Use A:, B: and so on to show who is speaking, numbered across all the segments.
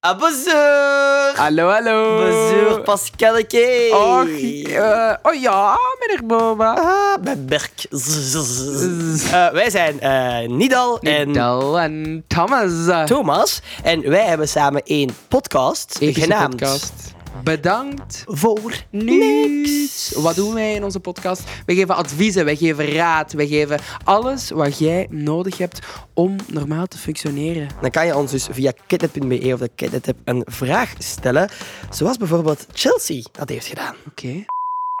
A: Ah, bonjour!
B: Hallo, hallo.
A: Bonjour, Pascalke!
B: Och, eh, oh ja, meneer Boma.
A: Ah, mijn Berk. Zzz, zzz, zzz. Eh, wij zijn eh, Nidal en
B: Del en Thomas.
A: Thomas. En wij hebben samen één podcast
B: Epische
A: genaamd
B: podcast. Bedankt
A: Voor
B: niks. Wat doen wij in onze podcast? Wij geven adviezen, wij geven raad, wij geven alles wat jij nodig hebt om normaal te functioneren.
A: Dan kan je ons dus via kidnet.be of de Kidnet app een vraag stellen. Zoals bijvoorbeeld Chelsea dat heeft gedaan.
B: Oké.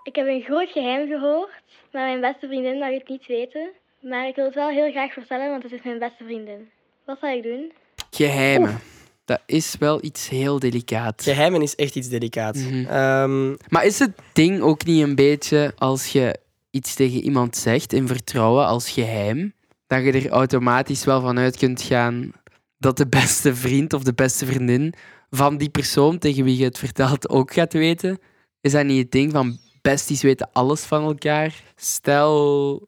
C: Ik heb een groot geheim gehoord, maar mijn beste vriendin mag het niet weten. Maar ik wil het wel heel graag vertellen, want het is mijn beste vriendin. Wat zal ik doen?
B: Geheimen. Dat is wel iets heel delicaat.
A: Geheimen is echt iets delicaats.
B: Mhm.
A: Ehm,
B: Maar is het ding ook niet een beetje als je iets tegen iemand zegt in vertrouwen als geheim, dat je er automatisch wel vanuit kunt gaan dat de beste vriend of de beste vriendin van die persoon tegen wie je het vertelt ook gaat weten? Is dat niet het ding van besties weten alles van elkaar? Stel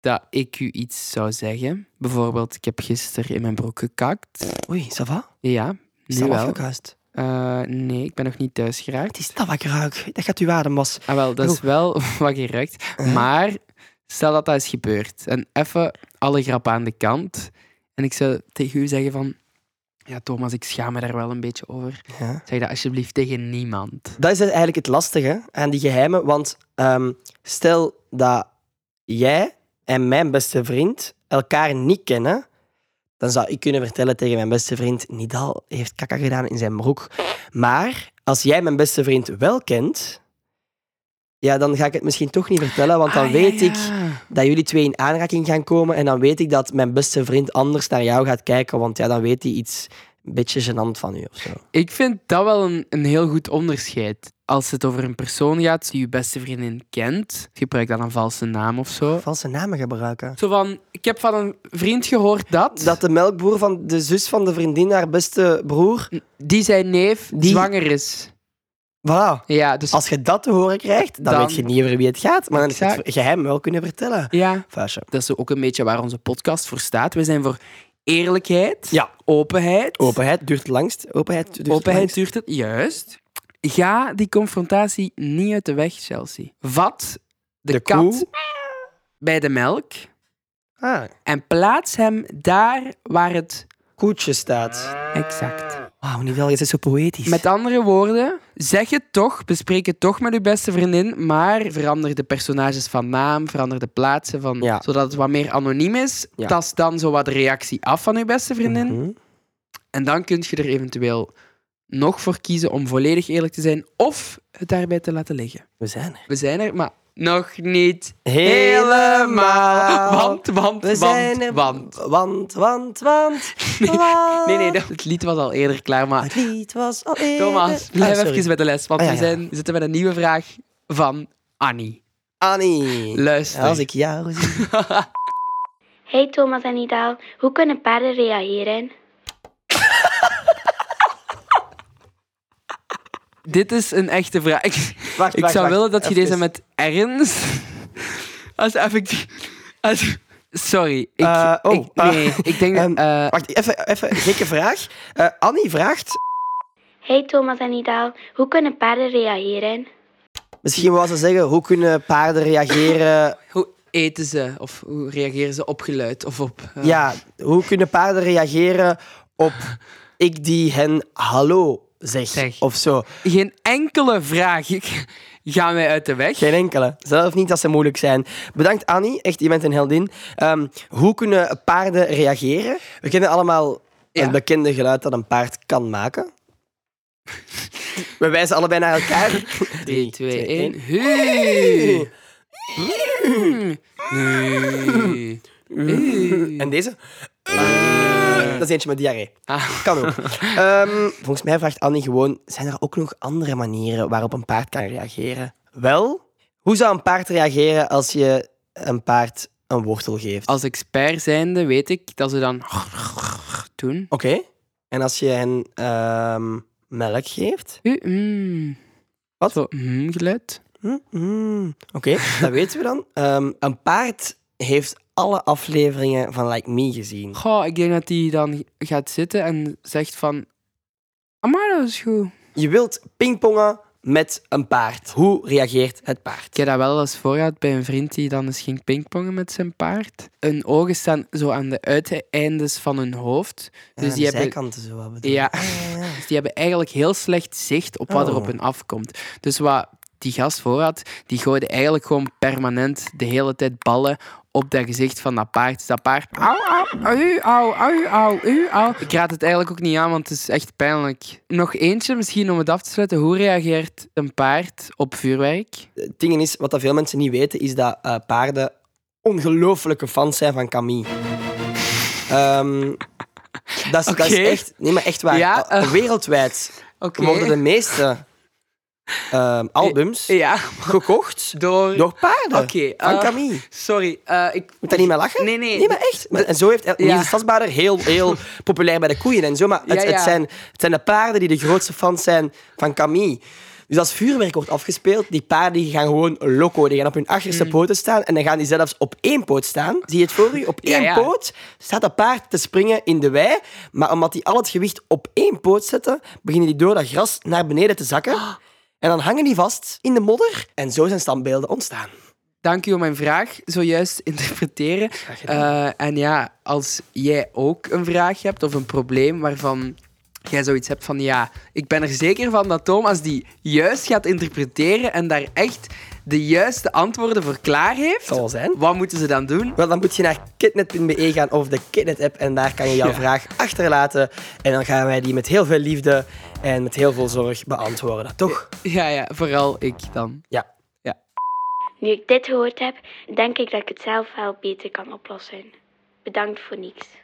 B: dat ik u iets zou zeggen. Bijvoorbeeld, ik heb gisteren in mijn broek gekakt.
A: oei, ça va?
B: Ja,
A: Is
B: nu
A: dat
B: wel.
A: afgekast?
B: Eh, nee, ik ben nog niet thuis geraakt.
A: Het is dat wat ik ruik. Dat gaat uw adem was.
B: Ah, wel, dat is wel wat je ruikt.
A: Eh?
B: Maar stel dat dat is gebeurd. En even alle grap aan de kant. En ik zou tegen u zeggen van... Ja, Thomas, ik schaam me daar wel een beetje over.
A: Ja.
B: Zeg dat alsjeblieft tegen niemand.
A: Dat is dus eigenlijk het lastige aan die geheimen. Want ehm, stel dat jij en mijn beste vriend elkaar niet kennen, dan zou ik kunnen vertellen tegen mijn beste vriend: Nidal heeft kaka gedaan in zijn broek. Maar als jij mijn beste vriend wel kent, ja, dan ga ik het misschien toch niet vertellen, want dan
B: Ah, ja,
A: weet
B: ja.
A: ik dat jullie twee in aanraking gaan komen. En dan weet ik dat mijn beste vriend anders naar jou gaat kijken, want ja, dan weet hij iets een beetje gênant van u of zo.
B: Ik vind dat wel een, een heel goed onderscheid. Als het over een persoon gaat die je beste vriendin kent, gebruik dan een valse naam of zo.
A: Valse namen gebruiken.
B: Zo van, ik heb van een vriend gehoord dat...
A: Dat de melkboer van de zus van de vriendin, haar beste broer.
B: Hm. Die zijn neef
A: Die-
B: zwanger is.
A: Voilà.
B: Ja, dus...
A: Als je dat te horen krijgt, dan,
B: Dan-
A: weet je niet over wie het gaat. Maar dan heb je het
B: Exact.
A: geheim wel kunnen vertellen.
B: Ja.
A: Vuistje.
B: Dat is ook een beetje waar onze podcast voor staat. We zijn voor eerlijkheid,
A: Ja.
B: openheid.
A: Openheid duurt het langst. Openheid duurt het
B: Openheid
A: langst.
B: duurt het. Juist. Ga die confrontatie niet uit de weg, Chelsea. Vat de,
A: De
B: kat
A: koe.
B: bij de melk
A: Ah,
B: en plaats hem daar waar het
A: koetje staat.
B: exact.
A: Wauw, niet wel, je bent zo poëtisch.
B: Met andere woorden, zeg het toch, bespreek het toch met uw beste vriendin, maar verander de personages van naam, verander de plaatsen van,
A: Ja.
B: zodat het wat meer anoniem is.
A: Ja.
B: Tast dan zo wat de reactie af van uw beste vriendin.
A: Mhm.
B: En dan kun je er eventueel nog voor kiezen om volledig eerlijk te zijn of het daarbij te laten liggen.
A: We zijn er.
B: We zijn er, maar nog niet
A: Helemaal.
B: Want, want,
A: We
B: want,
A: zijn er.
B: want.
A: Want, want, want.
B: Nee, nee, dat- het lied was al eerder klaar, maar
A: Het lied was al eerder.
B: Thomas, blijf
A: Ah, sorry.
B: even bij de les, want
A: Ah, ja,
B: we
A: ja.
B: zijn, zitten met een nieuwe vraag van Annie.
A: Annie.
B: Luister.
A: Als ik jou zie.
C: Hey Thomas en Idaal, hoe kunnen paarden reageren?
B: Dit is een echte vraag. Ik,
A: Wacht,
B: ik
A: wacht,
B: zou
A: wacht.
B: willen dat je
A: Even.
B: deze met ernst... Als effectief... Als, sorry. Ik,
A: Eh, oh,
B: ik, nee,
A: eh,
B: ik denk...
A: ehm,
B: dat. eh,
A: Wacht, even, even een gekke vraag. Eh, Annie vraagt,
C: Hey Thomas en Idaal, hoe kunnen paarden reageren?
A: misschien wou ze zeggen, hoe kunnen paarden reageren?
B: Hoe eten ze of hoe reageren ze op geluid of op. eh,
A: Ja, hoe kunnen paarden reageren op ik die hen hallo zeg,
B: Zeg.
A: of zo?
B: Geen enkele vraag gaan wij uit de weg.
A: Geen enkele. Zelf niet als ze moeilijk zijn. Bedankt Annie, echt, je bent een heldin. Ehm, hoe kunnen paarden reageren? We kennen allemaal
B: Ja.
A: het bekende geluid dat een paard kan maken. We wijzen allebei naar elkaar.
B: 3, 2, 1.
A: één.
B: Hui! Hui. Hui.
A: En deze? Eh, Dat is eentje met diarree.
B: Ah.
A: Kan ook. Ehm, volgens mij vraagt Annie gewoon: zijn er ook nog andere manieren waarop een paard kan reageren? Wel, hoe zou een paard reageren als je een paard een wortel geeft?
B: Als expert zijnde weet ik dat ze dan doen.
A: Oké. En als je hen ehm, melk geeft?
B: Hu, mm.
A: Wat?
B: Zo, mm, geluid.
A: Hm, hm. Oké, dat weten we dan. Ehm, een paard heeft alle afleveringen van Like Me gezien.
B: Goh, ik denk dat die dan gaat zitten en zegt van. Amai, dat is goed.
A: Je wilt pingpongen met een paard. Hoe reageert het paard?
B: Ik heb dat wel als voorraad bij een vriend die dan eens ging pingpongen met zijn paard. Hun ogen staan zo aan de uiteindes van hun hoofd. Dus die, hebben,
A: zijkanten zo wat bedoel
B: Ja.
A: ik. ja, ja.
B: dus die hebben eigenlijk heel slecht zicht op wat er
A: Oh.
B: op hen afkomt. Dus wat die gast voorhad, die gooide eigenlijk gewoon permanent de hele tijd ballen op dat gezicht van dat paard. Dus dat paard... Au, au, au, au, au, au, au, au. Ik raad het eigenlijk ook niet aan, want het is echt pijnlijk. Nog eentje, misschien om het af te sluiten. Hoe reageert een paard op vuurwerk?
A: Het ding is, wat dat veel mensen niet weten, is dat eh, paarden ongelooflijke fans zijn van Camille. Ehm, dat, is, dat is
B: Oké.
A: echt... Nee, maar echt waar.
B: Ja,
A: Eh,
B: eh.
A: Wereldwijd
B: Oké. Eh,
A: worden de meeste ehm, albums
B: Ja,
A: gekocht
B: door...
A: door paarden.
B: Oké,
A: Van
B: eh,
A: Camille.
B: Sorry, eh, ik...
A: Moet daar niet mee lachen?
B: Nee, nee.
A: Nee, maar echt. Maar- en zo heeft El- Niels de Stadsbader heel, heel populair bij de koeien en zo. Maar het,
B: Ja, ja.
A: Het, zijn, het zijn de paarden die de grootste fans zijn van Camille. Dus als vuurwerk wordt afgespeeld, die paarden die gaan gewoon loco. Die gaan op hun
B: Mm.
A: achterste poten staan en dan gaan die zelfs op één poot staan. Zie je het voor u? Op
B: Ja,
A: één
B: ja.
A: poot staat dat paard te springen in de wei. Maar omdat die al het gewicht op één poot zetten, beginnen die door dat gras naar beneden te zakken. En dan hangen die vast in de modder. En zo zijn standbeelden ontstaan.
B: Dank u om mijn vraag zojuist te interpreteren. Eh, en ja, als jij ook een vraag hebt of een probleem waarvan jij zoiets hebt van ja, ik ben er zeker van dat Thomas die juist gaat interpreteren en daar echt de juiste antwoorden voor klaar heeft,
A: Zal wel zijn.
B: wat moeten ze dan doen?
A: Wel, dan moet je naar kidnet.be gaan of de Kidnet-app en daar kan je jouw
B: Ja.
A: vraag achterlaten. En dan gaan wij die met heel veel liefde en met heel veel zorg beantwoorden, toch?
B: Ja, ja, vooral ik dan.
A: Ja.
C: Nu ik dit gehoord heb, denk ik dat ik het zelf wel beter kan oplossen. Bedankt voor niks.